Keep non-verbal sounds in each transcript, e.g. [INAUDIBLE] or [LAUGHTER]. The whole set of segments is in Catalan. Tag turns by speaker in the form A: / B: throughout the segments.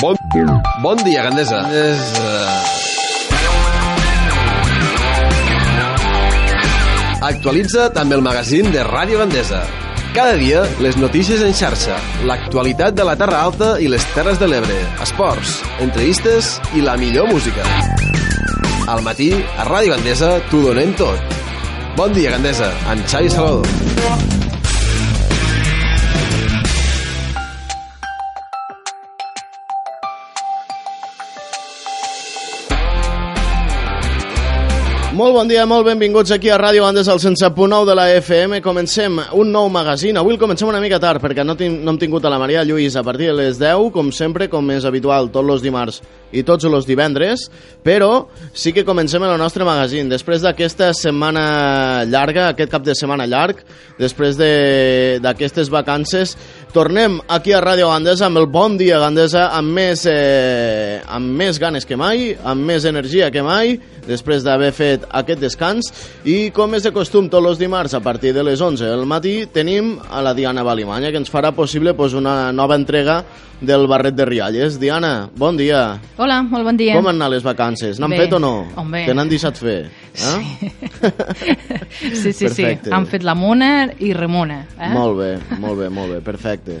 A: Bon, bon dia, Gandesa. És, eh, Actualitza també el magazín de Ràdio Gandesa. Cada dia, les notícies en xarxa, l'actualitat de la Terra Alta i les Terres de l'Ebre, esports, entrevistes i la millor música. Al matí, a Ràdio Gandesa, t'ho donem tot. Bon dia, Gandesa, en Xavi Salvador.
B: Molt bon dia, molt benvinguts aquí a Ràdio Bandes al 107.9 de la FM. Comencem un nou magazín. Avui el comencem una mica tard perquè no, tinc, no hem tingut a la Maria Lluís a partir de les 10, com sempre, com és habitual, tots els dimarts i tots els divendres, però sí que comencem el nostre magazín. Després d'aquesta setmana llarga, aquest cap de setmana llarg, després de- d'aquestes de, vacances, tornem aquí a Ràdio Gandesa amb el Bon Dia Gandesa, amb més, eh, amb més ganes que mai, amb més energia que mai, després d'haver fet aquest descans. I com és de costum, tots els dimarts, a partir de les 11 del matí, tenim a la Diana Balimanya, que ens farà possible pues, una nova entrega del barret de Rialles. Diana, bon dia.
C: Hola, molt bon dia.
B: Com han anat les vacances? N'han
C: Bé,
B: fet o no?
C: home.
B: Te n'han deixat fer? Eh? Sí.
C: [LAUGHS] Sí, sí,
B: Perfecte.
C: sí. Han fet la mona i remona. Eh?
B: Molt bé, molt bé, molt bé, perfecte.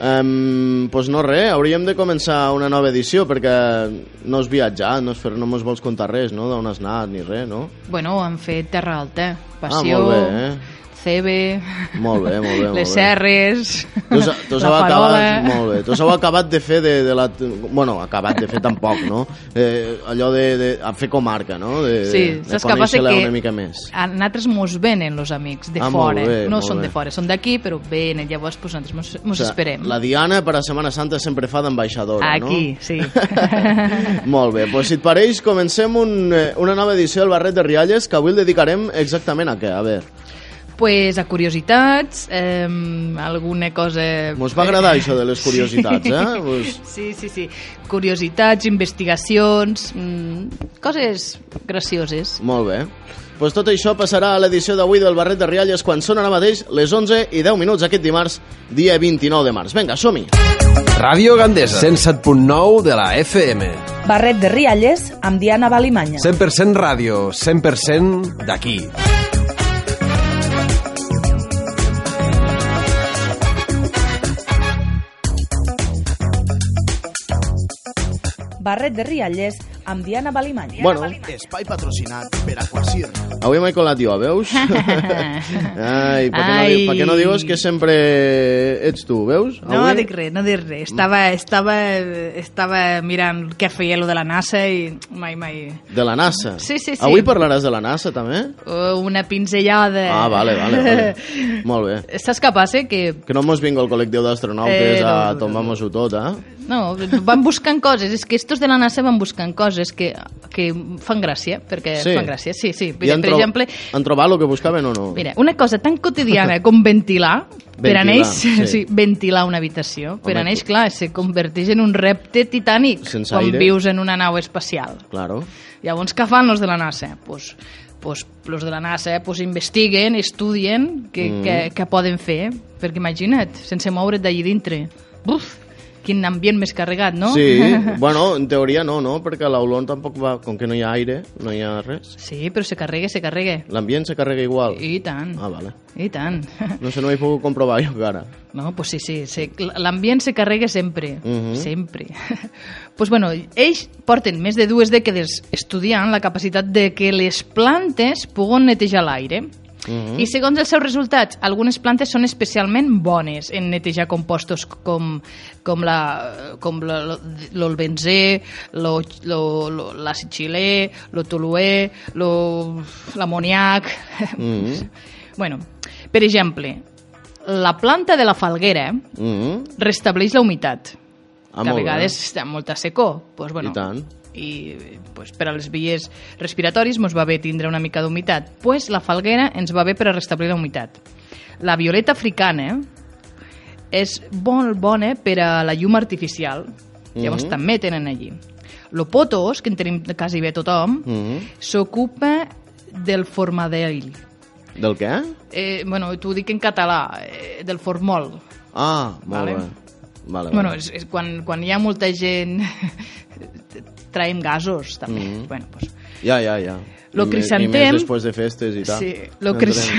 B: Um, pues no res, hauríem de començar una nova edició perquè no has viatjat, no, has fer, no mos vols contar res, no? D'on has anat ni res, no?
C: Bueno, han fet Terra Alta, Passió,
B: Ah, molt bé, eh?
C: Cebe,
B: Molt bé,
C: [LAUGHS]
B: molt bé, molt
C: Les
B: bé.
C: Serres,
B: Tu us- tu us heu
C: [LAUGHS] la Farola... eh?
B: acabat, molt bé, tu us heu acabat de fer de, de la... Bueno, acabat de fer tampoc, no? Eh, allò de, de a fer comarca, no? De,
C: Sí,
B: de
C: saps que passa
B: conèixer-la
C: que-
B: una mica més.
C: A nosaltres mos venen els amics de
B: Ah, molt
C: fora.
B: bé,
C: no
B: molt
C: són
B: bé.
C: de fora, són d'aquí, però venen. Llavors, pues, nosaltres mos, mos
B: O sigui,
C: esperem.
B: La Diana per a Setmana Santa sempre fa d'ambaixadora, no?
C: Aquí,
B: [LAUGHS]
C: sí.
B: Molt bé, doncs si et pareix, comencem un, eh, una nova edició del Barret de Rialles que avui el dedicarem exactament a què? A veure,
C: pues a curiositats, eh, alguna cosa...
B: mos va agradar això de les curiositats, eh? Pues,
C: Sí, sí, sí. Curiositats, investigacions, mm, coses gracioses.
B: molt bé. Doncs tot això passarà a l'edició d'avui del Barret de Rialles quan són ara mateix les 11 i 10 minuts aquest dimarts, dia 29 de març. Vinga, som-hi!
A: Ràdio Gandesa, 107.9 de la FM.
D: Barret de Rialles amb Diana Balimanya.
A: 100% ràdio, 100% d'aquí.
D: Barret de Rialles amb Diana Balimanya.
B: Bueno,
E: Espai patrocinat per Aquasir.
B: avui m'he colat jo,
C: [LAUGHS]
B: veus? Ai, per què, no,
C: Ai.
B: di- per què no dius que sempre ets tu, veus?
C: No
B: Avui-
C: dic res, no dic res. Estava, estava, estava mirant què feia lo de la NASA i mai, mai...
B: De la NASA.
C: Sí, sí, sí.
B: Avui parlaràs de la NASA, també?
C: Oh, Una pinzellada.
B: Ah, vale, vale,
C: [LAUGHS]
B: vale. Molt bé.
C: Saps què passa? Que
B: Que no mos vinga el col·lectiu d'astronautes
C: Eh,
B: eh,
C: no,
B: a
C: no,
B: tomar-nos-ho tot, eh?
C: no, van buscant coses. És que estos de la NASA van buscant coses que, que fan gràcia, perquè
B: Sí.
C: fan gràcia. Sí, sí.
B: I
C: Per,
B: han
C: per
B: tro-
C: exemple,
B: Han trobat el que buscaven o no?
C: Mira, una cosa tan quotidiana com ventilar, per
B: [LAUGHS]
C: a
B: Ventilar,
C: neix,
B: sí.
C: [LAUGHS] sí. ventilar una habitació, per a
B: Home,
C: neix, clar, se converteix en un repte titànic
B: Sense
C: quan
B: aire.
C: vius en una nau espacial.
B: Claro.
C: Llavors, què fan els de la NASA? Pues, pues, los de la NASA pues, investiguen, estudien què, mm. què, què poden fer, perquè imagina't, sense moure't d'allí dintre. Buf! Quin ambient més carregat, no? [LAUGHS]
B: Sí, bueno, en teoria no, no? Perquè l'Aulon tampoc va... Com que no hi ha aire, no hi ha res.
C: Sí, però se carrega, se carrega.
B: L'ambient se carrega igual.
C: I tant,
B: Ah, vale.
C: i tant. [LAUGHS]
B: No sé, no ho he pogut comprovar jo encara.
C: No, pues sí, sí, sí. l'ambient se carrega sempre,
B: Mhm.
C: sempre. [LAUGHS] pues bueno, ells porten més de dues dècades estudiant la capacitat de que les plantes puguen netejar l'aire. I segons els seus resultats, algunes plantes són especialment bones en netejar compostos com, com la- com la- lo- l'olbenzè, lo- lo- lo- l'àcid xilè, l'otoluè, lo- l'amoniac...
B: Mhm.
C: bueno, per exemple, la planta de la falguera
B: Mm -hmm.
C: restableix la humitat,
B: Ah,
C: que a
B: molt bé.
C: vegades està molta secor. Pues, bueno,
B: I tant.
C: i pues, per a les vies respiratòries ens va bé tindre una mica d'humitat. pues, la falguera ens va bé per a restablir la humitat. La violeta africana és molt bona per a la llum artificial. Llavors
B: Mhm.
C: també tenen allí. L'opotos, que en tenim quasi bé tothom,
B: Mhm.
C: s'ocupa del formadell.
B: Del què?
C: Eh, bueno, t'ho dic en català, eh, del formol.
B: Ah, molt
C: Vale.
B: bé. Vale, vale.
C: Bueno, és, és quan, quan hi ha molta gent [LAUGHS] traiem gasos, també. Mm -hmm. bueno, doncs,
B: Ja, ja, ja.
C: Lo
B: I me-
C: crisantem-
B: I més després de festes i tal.
C: Sí, lo,
B: Entrem.
C: cris...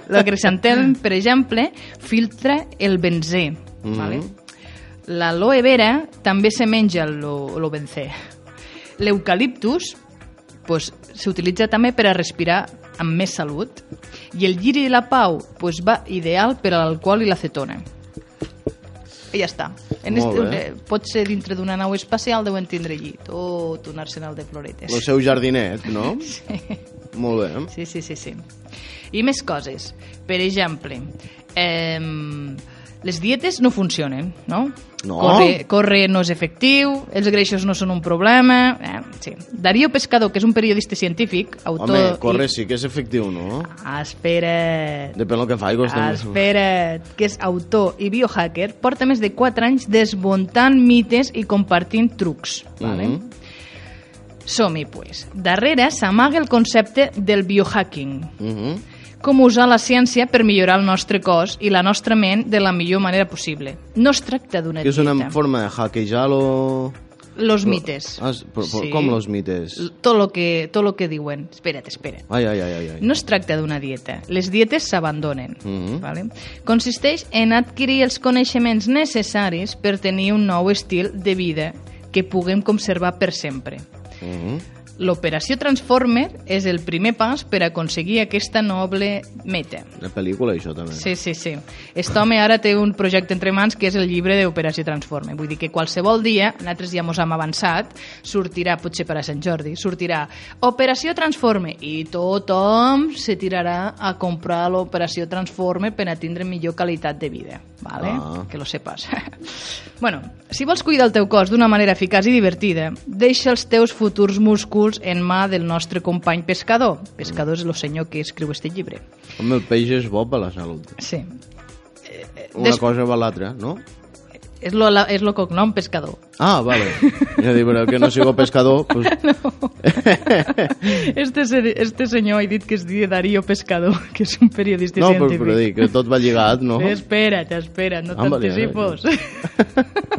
B: [LAUGHS]
C: lo crisantem, per exemple, filtra el benzè.
B: Mhm.
C: vale? L'aloe vera també se menja el lo, lo benzè. L'eucaliptus pues, s'utilitza també per a respirar amb més salut. I el giri de la pau pues, va ideal per a l'alcohol i l'acetona. I ja està. En
B: Molt
C: este,
B: bé.
C: eh, pot ser dintre d'una nau espacial, deuen tindre allí tot un arsenal de floretes.
B: El seu jardinet,
C: [LAUGHS]
B: no? Sí. Molt bé.
C: Sí, sí, sí, sí. I més coses. Per exemple, eh, les dietes no funcionen, no?
B: No.
C: Corre, corre no és efectiu, els greixos no són un problema... Eh, sí. Darío Pescado, que és un periodista científic, autor...
B: Home, corre,
C: I...
B: sí que és efectiu, no?
C: Espera't.
B: Depèn del que faigos.
C: Ah,
B: també.
C: Espera't, que és autor i biohacker, porta més de 4 anys desmuntant mites i compartint trucs. Vale?
B: Mhm.
C: Som-hi, pues. Darrere s'amaga el concepte del biohacking,
B: Mhm.
C: com usar la ciència per millorar el nostre cos i la nostra ment de la millor manera possible. No es tracta d'una
B: Que és
C: dieta.
B: una forma de hackejar-lo...
C: Los mites.
B: Ah, és- però- però com los mites?
C: L- Tot lo que, tot lo que diuen. Espera't, espera't.
B: Ai, ai, ai, ai. ai.
C: No es tracta d'una dieta. Les dietes s'abandonen.
B: Mhm.
C: vale? Consisteix en adquirir els coneixements necessaris per tenir un nou estil de vida que puguem conservar per sempre.
B: Mhm.
C: L'operació Transformer és el primer pas per aconseguir aquesta noble meta.
B: La pel·lícula, això, també.
C: Sí, sí, sí. Aquest home ara té un projecte entre mans que és el llibre d'Operació Transforme. Vull dir que qualsevol dia, nosaltres ja mos hem avançat, sortirà, potser per a Sant Jordi, sortirà Operació Transforme i tothom se tirarà a comprar l'Operació Transforme per a tindre millor qualitat de vida. Vale?
B: Ah.
C: Que lo sepas. [LAUGHS] bueno, si vols cuidar el teu cos d'una manera eficaç i divertida, deixa els teus futurs músculs en mà del nostre company pescador. Pescador és el senyor que escriu este llibre.
B: Home, el peix és bo per la salut.
C: Sí.
B: Una
C: Eh, Des-
B: cosa va l'altra,
C: [LAUGHS]
B: no?
C: És lo, la, és lo cognom
B: [LAUGHS]
C: pescador.
B: Ah, vale. Ja dic, però que no sigo pescador, pues,
C: Este, se- este senyor he dit que es diu Darío Pescador, [LAUGHS] que és un periodista
B: no, però,
C: científic.
B: però dic, que tot va lligat, no?
C: Espera't, espera't, no
B: Ah, vale,
C: t'anticipos.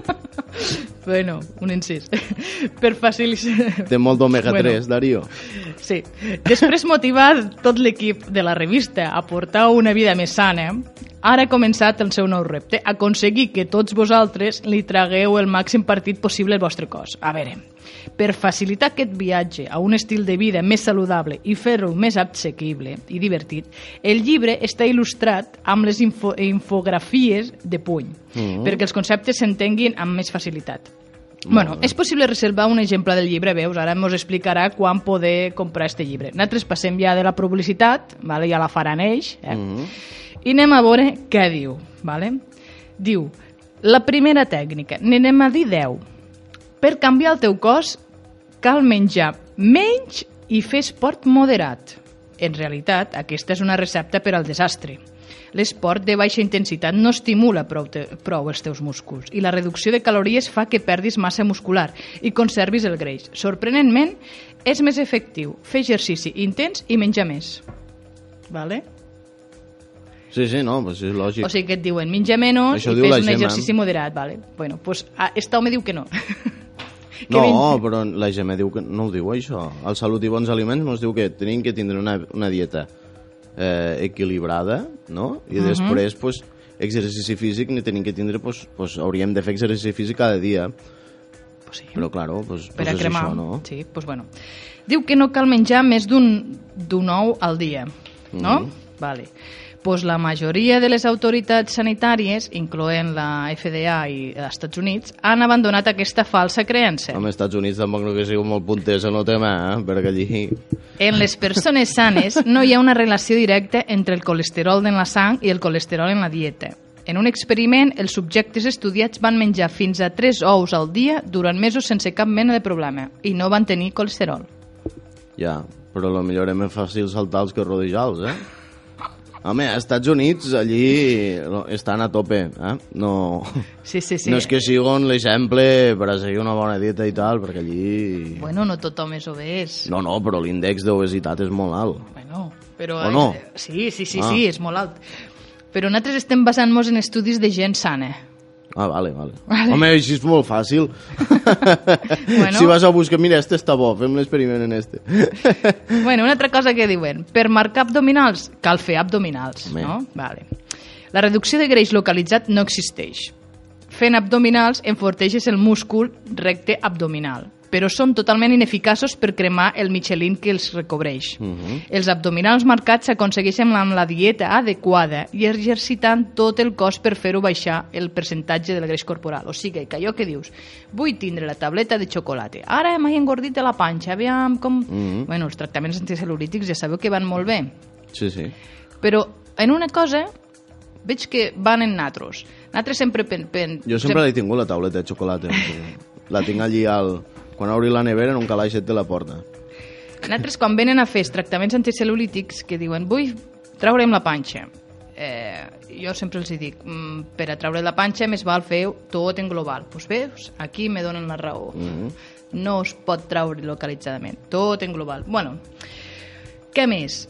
C: [LAUGHS] bueno, un incís. [LAUGHS] per facilitar...
B: Té molt d'omega 3, Darío.
C: Sí. Després motivar tot l'equip de la revista a portar una vida més sana, ara ha començat el seu nou repte, aconseguir que tots vosaltres li tragueu el màxim partit possible al vostre cos. A veure, per facilitar aquest viatge a un estil de vida més saludable i fer-lo més obsequible i divertit, el llibre està il·lustrat amb les info infografies de puny,
B: Mhm.
C: perquè els conceptes s'entenguin amb més facilitat. Bueno, és possible reservar un exemple del llibre, veus? Ara mos explicarà quan poder comprar este llibre. Nosaltres passem ja de la publicitat, vale? ja la faran ells, eh? Mm -hmm. i anem a veure què diu. Vale? Diu, la primera tècnica, n'anem a dir 10. Per canviar el teu cos cal menjar menys i fer esport moderat. En realitat, aquesta és una recepta per al desastre. L'esport de baixa intensitat no estimula prou, te, prou els teus músculs i la reducció de calories fa que perdis massa muscular i conservis el greix. Sorprenentment, és més efectiu fer exercici intens i menjar més. Vale?
B: Sí, sí, no, pues és lògic.
C: O sigui que et diuen menja menys
B: Això
C: i
B: diu la
C: fes un
B: Gemma.
C: exercici moderat. Vale? Bueno, pues, ah, esta home diu que no. [LAUGHS] que
B: no,
C: menja-
B: però la Gemma diu que no ho diu, això. El Salut i Bons Aliments ens diu que tenim que tindre una, una dieta eh, equilibrada, no? I
C: Mhm.
B: després, pues, exercici físic ni tenim que tindre, pues, pues, hauríem de fer exercici físic cada dia.
C: Pues sí.
B: Però, claro, pues,
C: per
B: pues
C: a
B: Doncs és
C: cremar.
B: això, no?
C: Sí, doncs bueno. Diu que no cal menjar més d'un d'un ou al dia, no?
B: Mhm.
C: Vale. Pues la majoria de les autoritats sanitàries, incloent la FDA i els Estats Units, han abandonat aquesta falsa creença.
B: Home, als Estats Units tampoc no que sigut molt punters en el tema, eh? perquè allí...
C: En les persones sanes no hi ha una relació directa entre el colesterol en la sang i el colesterol en la dieta. En un experiment, els subjectes estudiats van menjar fins a 3 ous al dia durant mesos sense cap mena de problema i no van tenir colesterol.
B: Ja, però lo millor és més fàcil saltar els que rodejar-los, eh? Home, als Estats Units, allí lo- estan a tope, eh? No,
C: Sí, sí, sí.
B: no és que siguin l'exemple per a seguir una bona dieta i tal, perquè allí...
C: Bueno, no tothom és obès.
B: No, no, però l'índex d'obesitat és molt alt.
C: Bueno, però... eh,
B: O no?
C: Sí, sí, sí,
B: Ah.
C: sí, és molt alt. Però nosaltres estem basant-nos en estudis de gent sana.
B: Ah, vale, vale.
C: Vale.
B: Home, així és molt fàcil. bueno. [LAUGHS]
C: Bueno.
B: Si vas a buscar, mira, este està bo, fem l'experiment en este.
C: Bueno, una altra cosa que diuen, per marcar abdominals cal fer abdominals,
B: Bé.
C: no? Vale. La reducció de greix localitzat no existeix. Fent abdominals enforteixes el múscul recte abdominal, però són totalment ineficaços per cremar el michelin que els recobreix. Els abdominals marcats s'aconsegueixen amb la dieta adequada i exercitant tot el cos per fer-ho baixar el percentatge del greix corporal. O sigui que allò que dius, vull tindre la tableta de xocolata, ara m'he engordit de la panxa, aviam com... Bueno, els tractaments anticel·lulítics ja sabeu que van molt bé,
B: Sí, sí.
C: però en una cosa veig que van en natros. Nosaltres sempre... Pen, pen,
B: Jo sempre l'he tingut, la tauleta de xocolata. La tinc allí al... Quan obri la nevera en un calaixet de la porta.
C: Nosaltres, quan venen a fer els tractaments anticel·lulítics, que diuen, vull treure'm la panxa, eh, jo sempre els hi dic, "Mm, per a treure la panxa més val fer tot en global. Doncs veus, aquí me donen la raó. No es pot treure localitzadament, tot en global. Bueno, què més?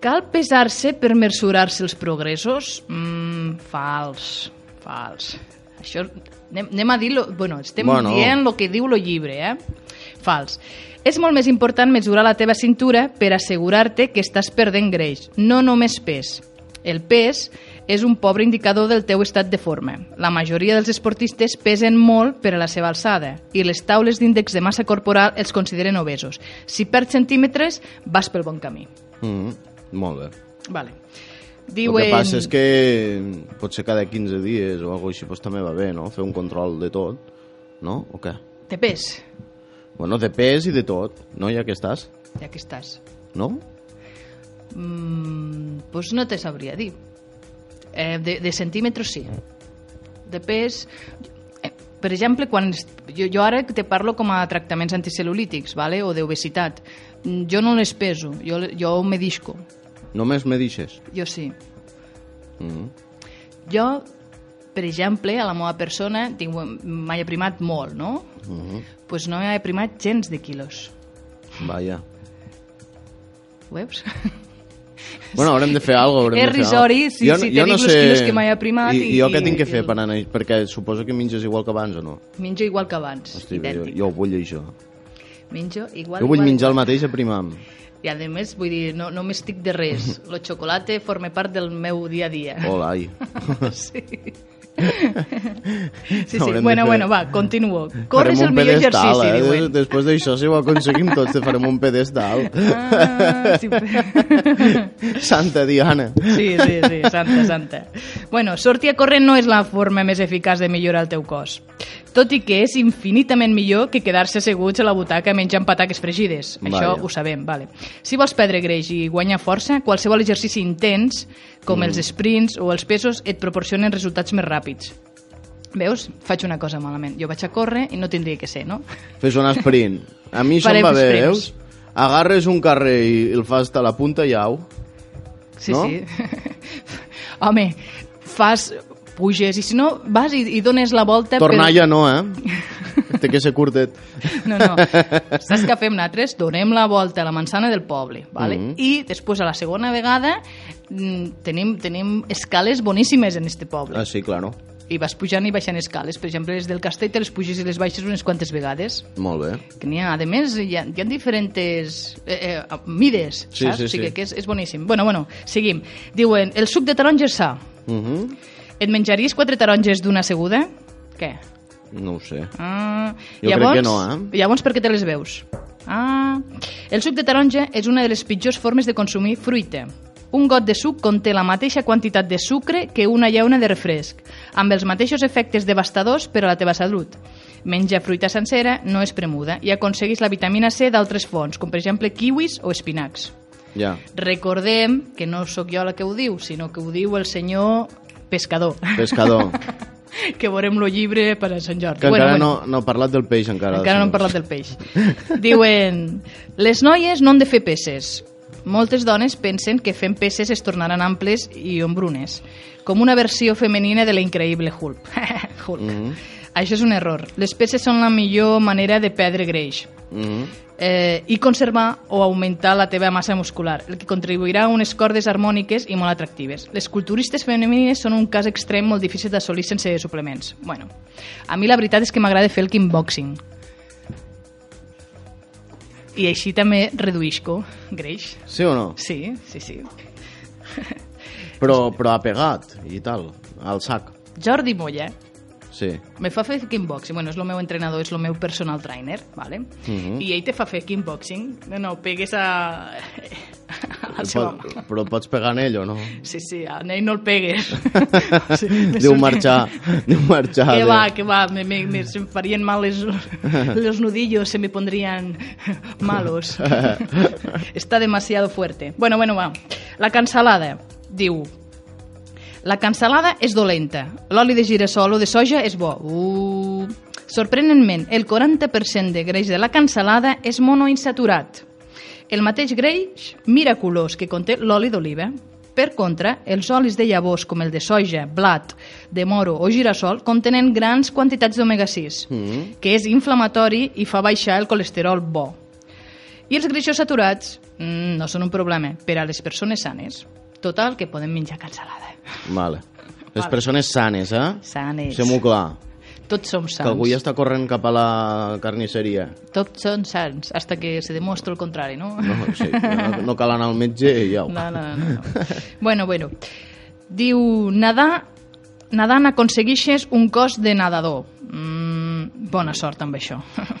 C: Cal pesar-se per mesurar-se els progressos? Mm, fals, fals. Això, anem, anem a dir... Lo, bueno, estem
B: Bueno.
C: bueno. dient el que diu el llibre, eh? Fals. És molt més important mesurar la teva cintura per assegurar-te que estàs perdent greix, no només pes. El pes és un pobre indicador del teu estat de forma. La majoria dels esportistes pesen molt per a la seva alçada i les taules d'índex de massa corporal els consideren obesos. Si perds centímetres, vas pel bon camí.
B: Mm Molt bé.
C: Vale.
B: El
C: Diuen...
B: que passa és que potser cada 15 dies o alguna així pues, també va bé, no? Fer un control de tot, no? O què?
C: Te pes,
B: Bueno, de pes i de tot, no? Ja que estàs,
C: ja que estàs.
B: no?
C: Mm, pues no te sabria dir. Eh, de, de centímetres sí. De pes... eh, Per exemple, quan est- jo, jo ara te parlo com a tractaments anticel·lulítics vale? o d'obesitat. Mm, Jo no les peso, jo, le- jo me disco.
B: Només me deixes.
C: Jo sí.
B: Mm
C: Jo, per exemple, a la meva persona tinc- m'he aprimat molt, no? Doncs
B: Mm-hmm.
C: pues no m'he aprimat gens de quilos.
B: Vaja.
C: Ho veus? [LAUGHS]
B: Bueno, haurem de fer alguna cosa.
C: És risori, sí, sí, te dic los quilos que m'he aprimat
B: I, i,
C: i-
B: jo què tinc que
C: i-
B: fer per anar? Perquè suposo que menges igual que abans o no?
C: Menjo igual que abans.
B: Hosti, jo,
C: idèntic.
B: jo ho vull això.
C: Menjo igual,
B: Jo vull
C: igual,
B: menjar el mateix aprimant.
C: I a més, vull dir, no, no m'estic
B: [LAUGHS]
C: de res. Lo xocolate forma part del meu dia a dia.
B: Hola, ai.
C: Sí. sí, sí.
B: Haurem de
C: Bueno,
B: fer-
C: bueno, va, continuo. Corre
B: Farem
C: és el
B: un
C: millor
B: pedestal,
C: exercici,
B: eh?
C: diuen.
B: Després d'això, si ho aconseguim tots, te farem un
C: [LAUGHS]
B: pedestal.
C: Ah, sí.
B: [LAUGHS] Santa Diana.
C: sí, sí, sí, santa, santa. Bueno, sortir a córrer no és la forma més eficaç de millorar el teu cos. Tot i que és infinitament millor que quedar-se asseguts a la butaca menjant pataques fregides. Això
B: Vaja.
C: ho sabem, vale. Si vols perdre greix i guanyar força, qualsevol exercici intens, com els
B: Mm.
C: sprints o els pesos, et proporcionen resultats més ràpids. Veus? Faig una cosa malament. Jo vaig a córrer i no tindria que ser, no?
B: Fes un sprint. A mi això em
C: Farem
B: va bé, veus?
C: sprints.
B: Agarres un carrer i el fas a la punta i au.
C: Sí,
B: No?
C: sí. [LAUGHS] Home, fas puges i si no vas i, i dones la volta
B: Tornar
C: per...
B: ja no, eh?
C: [LAUGHS]
B: Té que ser curtet.
C: No, no. Saps què fem nosaltres? Donem la volta a la manzana del poble, vale?
B: Mhm.
C: i després a la segona vegada mm, tenim, tenim escales boníssimes en este poble.
B: Ah, sí, claro.
C: I vas pujant i baixant escales. Per exemple, les del castell te les puges i les baixes unes quantes vegades.
B: Molt bé.
C: Que n'hi ha, a més, hi ha, hi ha diferents eh, eh, mides,
B: Sí,
C: saps?
B: sí,
C: o sigui
B: sí.
C: que és, és boníssim. Bueno, bueno, seguim. Diuen, el suc de taronja és sa.
B: Uh -huh.
C: Et menjaries quatre taronges d'una seguda? Què?
B: No ho sé.
C: Ah,
B: Jo crec que no, eh?
C: Llavors, per què te les veus? Ah, el suc de taronja és una de les pitjors formes de consumir fruita. Un got de suc conté la mateixa quantitat de sucre que una llauna de refresc, amb els mateixos efectes devastadors per a la teva salut. Menja fruita sencera, no és premuda, i aconsegueix la vitamina C d'altres fonts, com per exemple kiwis o espinacs. [LAUGHS]
B: Ja.
C: Recordem que no sóc jo la que ho diu, sinó que ho diu el senyor pescador
B: Pescador.
C: [LAUGHS] que veurem lo llibre per a Sant Jordi.
B: Que encara No, no ha parlat del peix, encara.
C: encara no hem parlat del peix. Diuen, les noies no han de fer peces. Moltes dones pensen que fent peces es tornaran amples i ombrunes, com una versió femenina de la increïble Hulk. [LAUGHS] Mm. Hulk. Això és un error. Les peces són la millor manera de perdre greix.
B: Mm -hmm.
C: eh, i conservar o augmentar la teva massa muscular, el que contribuirà a unes cordes harmòniques i molt atractives. Les culturistes femenines són un cas extrem molt difícil d'assolir sense suplements. Bueno, a mi la veritat és que m'agrada fer el kickboxing. I així també reduïsco greix.
B: Sí o no?
C: Sí, sí, sí.
B: Però, però ha pegat i tal, al sac.
C: Jordi Molla,
B: Sí.
C: Me fa fer kickboxing, bueno, és el meu entrenador, és el meu personal trainer, ¿vale?
B: Mhm.
C: i ell te fa fer kickboxing, no, no, pegues a... [LAUGHS] al seu home.
B: Pot, però pots pegar en ell o no?
C: Sí, sí, a ell no el pegues. [LAUGHS]
B: [LAUGHS]
C: Sí, me
B: Diu
C: surt-
B: marxar, [LAUGHS] diu marxar.
C: Que
B: de-
C: va, que va, me, me, me, se em farien mal les, los nudillos, se me pondrían malos. Está demasiado fuerte. Bueno, bueno, va. La cansalada, diu... La cansalada és dolenta. L'oli de girassol o de soja és bo. Uh. Sorprenentment, el 40% de greix de la cansalada és monoinsaturat. El mateix greix miraculós que conté l'oli d'oliva. Per contra, els olis de llavors com el de soja, blat, de moro o girassol contenen grans quantitats d'omega-6, que és inflamatori i fa baixar el colesterol bo. I els greixos saturats mm, no són un problema per a les persones sanes. Total, que podem menjar cansalada.
B: Vale. Les persones sanes, eh?
C: Sanes.
B: Fem-ho clar,
C: Tots som
B: que algú
C: sants.
B: ja està corrent cap a la carnisseria.
C: Tots són sants, hasta que se demostra el contrari, no?
B: No,
C: [LAUGHS]
B: sí, no, no cal anar al metge i ja ho.
C: No, no, no, no. bueno, bueno. Diu, nadar, nadant aconseguixes un cos de nadador. Mm, bona sort amb això. [LAUGHS]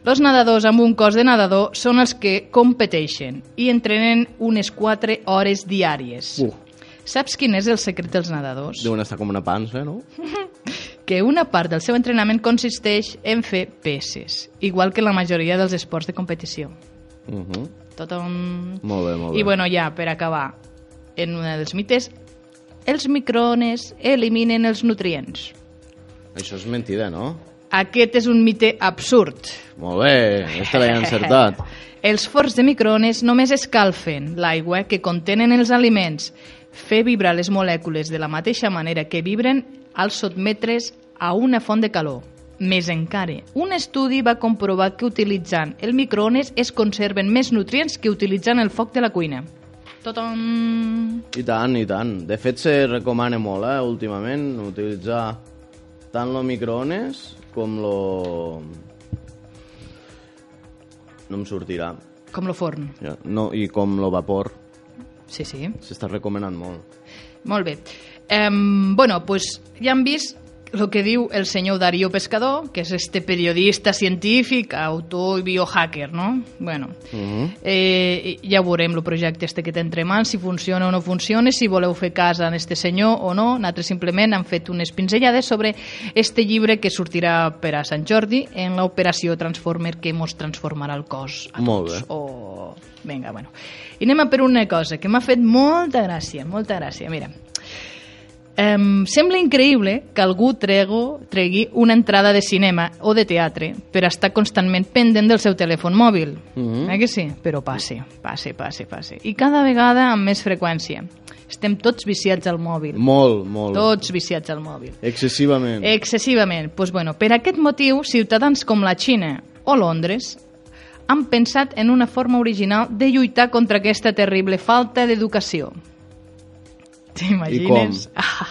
C: Els nedadors amb un cos de nadador són els que competeixen i entrenen unes 4 hores diàries.
B: Uh.
C: Saps quin és el secret dels nedadors?
B: Deuen estar com una pansa, no?
C: que una part del seu entrenament consisteix en fer peces, igual que la majoria dels esports de competició.
B: Uh -huh.
C: Tot un...
B: Molt bé, molt bé.
C: I bueno, ja, per acabar, en un dels mites, els microones eliminen els nutrients.
B: Això és mentida, no?
C: Aquest és un mite absurd.
B: Molt bé, aquesta l'he
C: [LAUGHS]
B: encertat.
C: Els forns de microones només escalfen l'aigua que contenen els aliments. Fer vibrar les molècules de la mateixa manera que vibren als sotmetre's a una font de calor. Més encara, un estudi va comprovar que utilitzant el microones es conserven més nutrients que utilitzant el foc de la cuina. Totom...
B: I tant, i tant. De fet, se recomana molt, eh, últimament, utilitzar tant lo microones com lo... No em sortirà.
C: Com lo forn.
B: Ja, No, I com lo vapor.
C: Sí, sí.
B: S'està recomanant molt.
C: Molt bé. Um, bueno, pues ja han vist el que diu el senyor Darío Pescador, que és este periodista científic, autor i biohacker, no? Bueno, uh
B: Mhm.
C: -huh. eh, ja veurem el projecte este que té entre mans, si funciona o no funciona, si voleu fer cas a este senyor o no. Nosaltres simplement han fet unes pinzellades sobre este llibre que sortirà per a Sant Jordi en l'operació Transformer que mos transformarà el cos a
B: Molt
C: tots.
B: bé.
C: O... Vinga, bueno. I anem a per una cosa que m'ha fet molta gràcia, molta gràcia. Mira, Em sembla increïble que algú trego, tregui una entrada de cinema o de teatre per estar constantment pendent del seu telèfon mòbil. Mm -hmm. Eh que sí? Però passe, passe, passe, passe. I cada vegada amb més freqüència. Estem tots viciats al mòbil.
B: Molt, molt.
C: Tots Eh. viciats al mòbil.
B: Excessivament.
C: [LAUGHS] Excessivament. Pues bueno, per aquest motiu, ciutadans com la Xina o Londres han pensat en una forma original de lluitar contra aquesta terrible falta d'educació. T'imagines?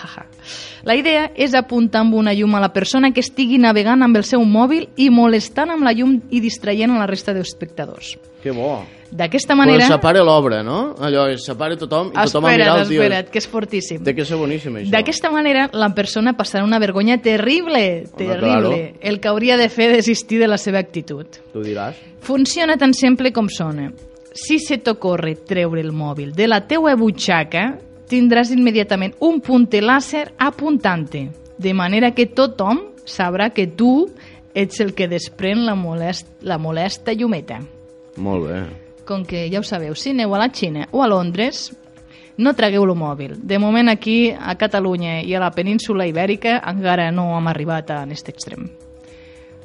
C: [LAUGHS] La idea és apuntar amb una llum a la persona que estigui navegant amb el seu mòbil i molestant amb la llum i distraient a la resta d'espectadors.
B: Que bo.
C: D'aquesta
B: Manera...
C: manera...
B: Però separa l'obra, no? Allò, es separa tothom i tothom a mirar
C: espera't,
B: el tio.
C: espera't, que és fortíssim.
B: Té que ser boníssim, això.
C: D'aquesta manera, la persona passarà una vergonya terrible, terrible,
B: claro.
C: el que hauria de fer desistir de la seva actitud.
B: Tu diràs.
C: Funciona tan simple com sona. Si se t'ocorre treure el mòbil de la teua butxaca, tindràs immediatament un punter làser apuntant-te, de manera que tothom sabrà que tu ets el que desprèn la, molest, la molesta llumeta
B: Molt bé.
C: com que ja ho sabeu, si aneu a la Xina o a Londres, no tragueu el mòbil. De moment aquí, a Catalunya i a la península ibèrica, encara no hem arribat a aquest extrem. [LAUGHS]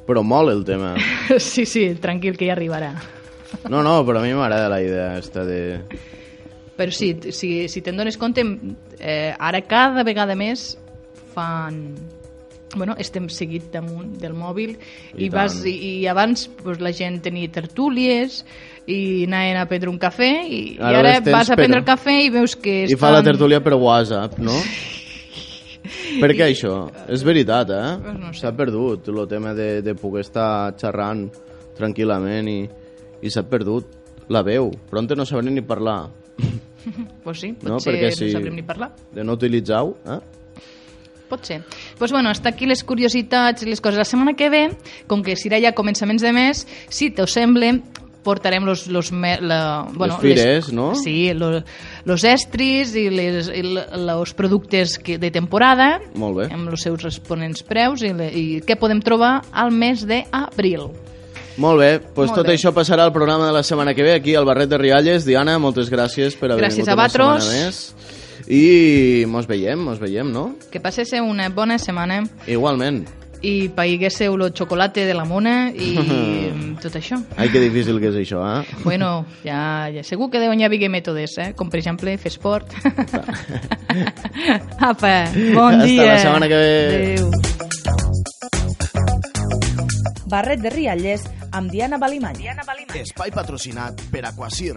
B: Però molt el tema.
C: Sí, sí, tranquil, que ja arribarà.
B: No, no, però a mi m'agrada la idea aquesta de...
C: Però sí, t- si, si te'n dones compte, eh, ara cada vegada més fan bueno, estem seguit damunt del mòbil
B: I
C: i, vas,
B: tant.
C: i, i abans pues, la gent tenia tertúlies i anaven a prendre un cafè i,
B: Ara
C: i ara
B: les tens,
C: vas a prendre
B: però-
C: el cafè i veus que
B: I fa la tertúlia per WhatsApp,
C: [LAUGHS]
B: no? Per què això? És veritat, eh?
C: Doncs no sé.
B: S'ha perdut el tema de, de poder estar xerrant tranquil·lament i, i s'ha perdut la veu. Pronte no sabré ni parlar.
C: Pues sí,
B: No,
C: potser
B: perquè
C: no,
B: si-
C: no sabrem ni parlar.
B: De no utilitzar-ho, eh?
C: Pot ser. pues bueno, hasta aquí les curiositats i les coses. La setmana que ve, com que serà ja començaments de mes, si te sembla, portarem los, los me, la, bueno,
B: fires, no?
C: Sí, los, los estris i les, i els productes que, de temporada,
B: Molt bé.
C: amb els seus responents preus i, le, i què podem trobar al mes d'abril.
B: Molt bé, doncs
C: Molt
B: tot
C: bé.
B: això passarà al programa de la setmana que ve, aquí al Barret de Rialles. Diana, moltes gràcies per haver
C: Gràcies
B: vingut
C: a
B: una
C: vatros.
B: setmana més. I mos veiem, mos veiem, no?
C: Que passés una bona setmana
B: Igualment.
C: i paiguésseu el xocolate de la mona
B: [LAUGHS]
C: i tot això.
B: Ai, que difícil que és això, eh?
C: Bueno, ja, ja segur que deuen hi haver mètodes, eh? com per exemple fer esport. [LAUGHS] Apa, bon
B: Hasta
C: dia.
B: la setmana que ve.
C: Adéu.
D: Barret de Rialles amb Diana Balimany. Diana Balimany.
E: Espai patrocinat per Aquasir.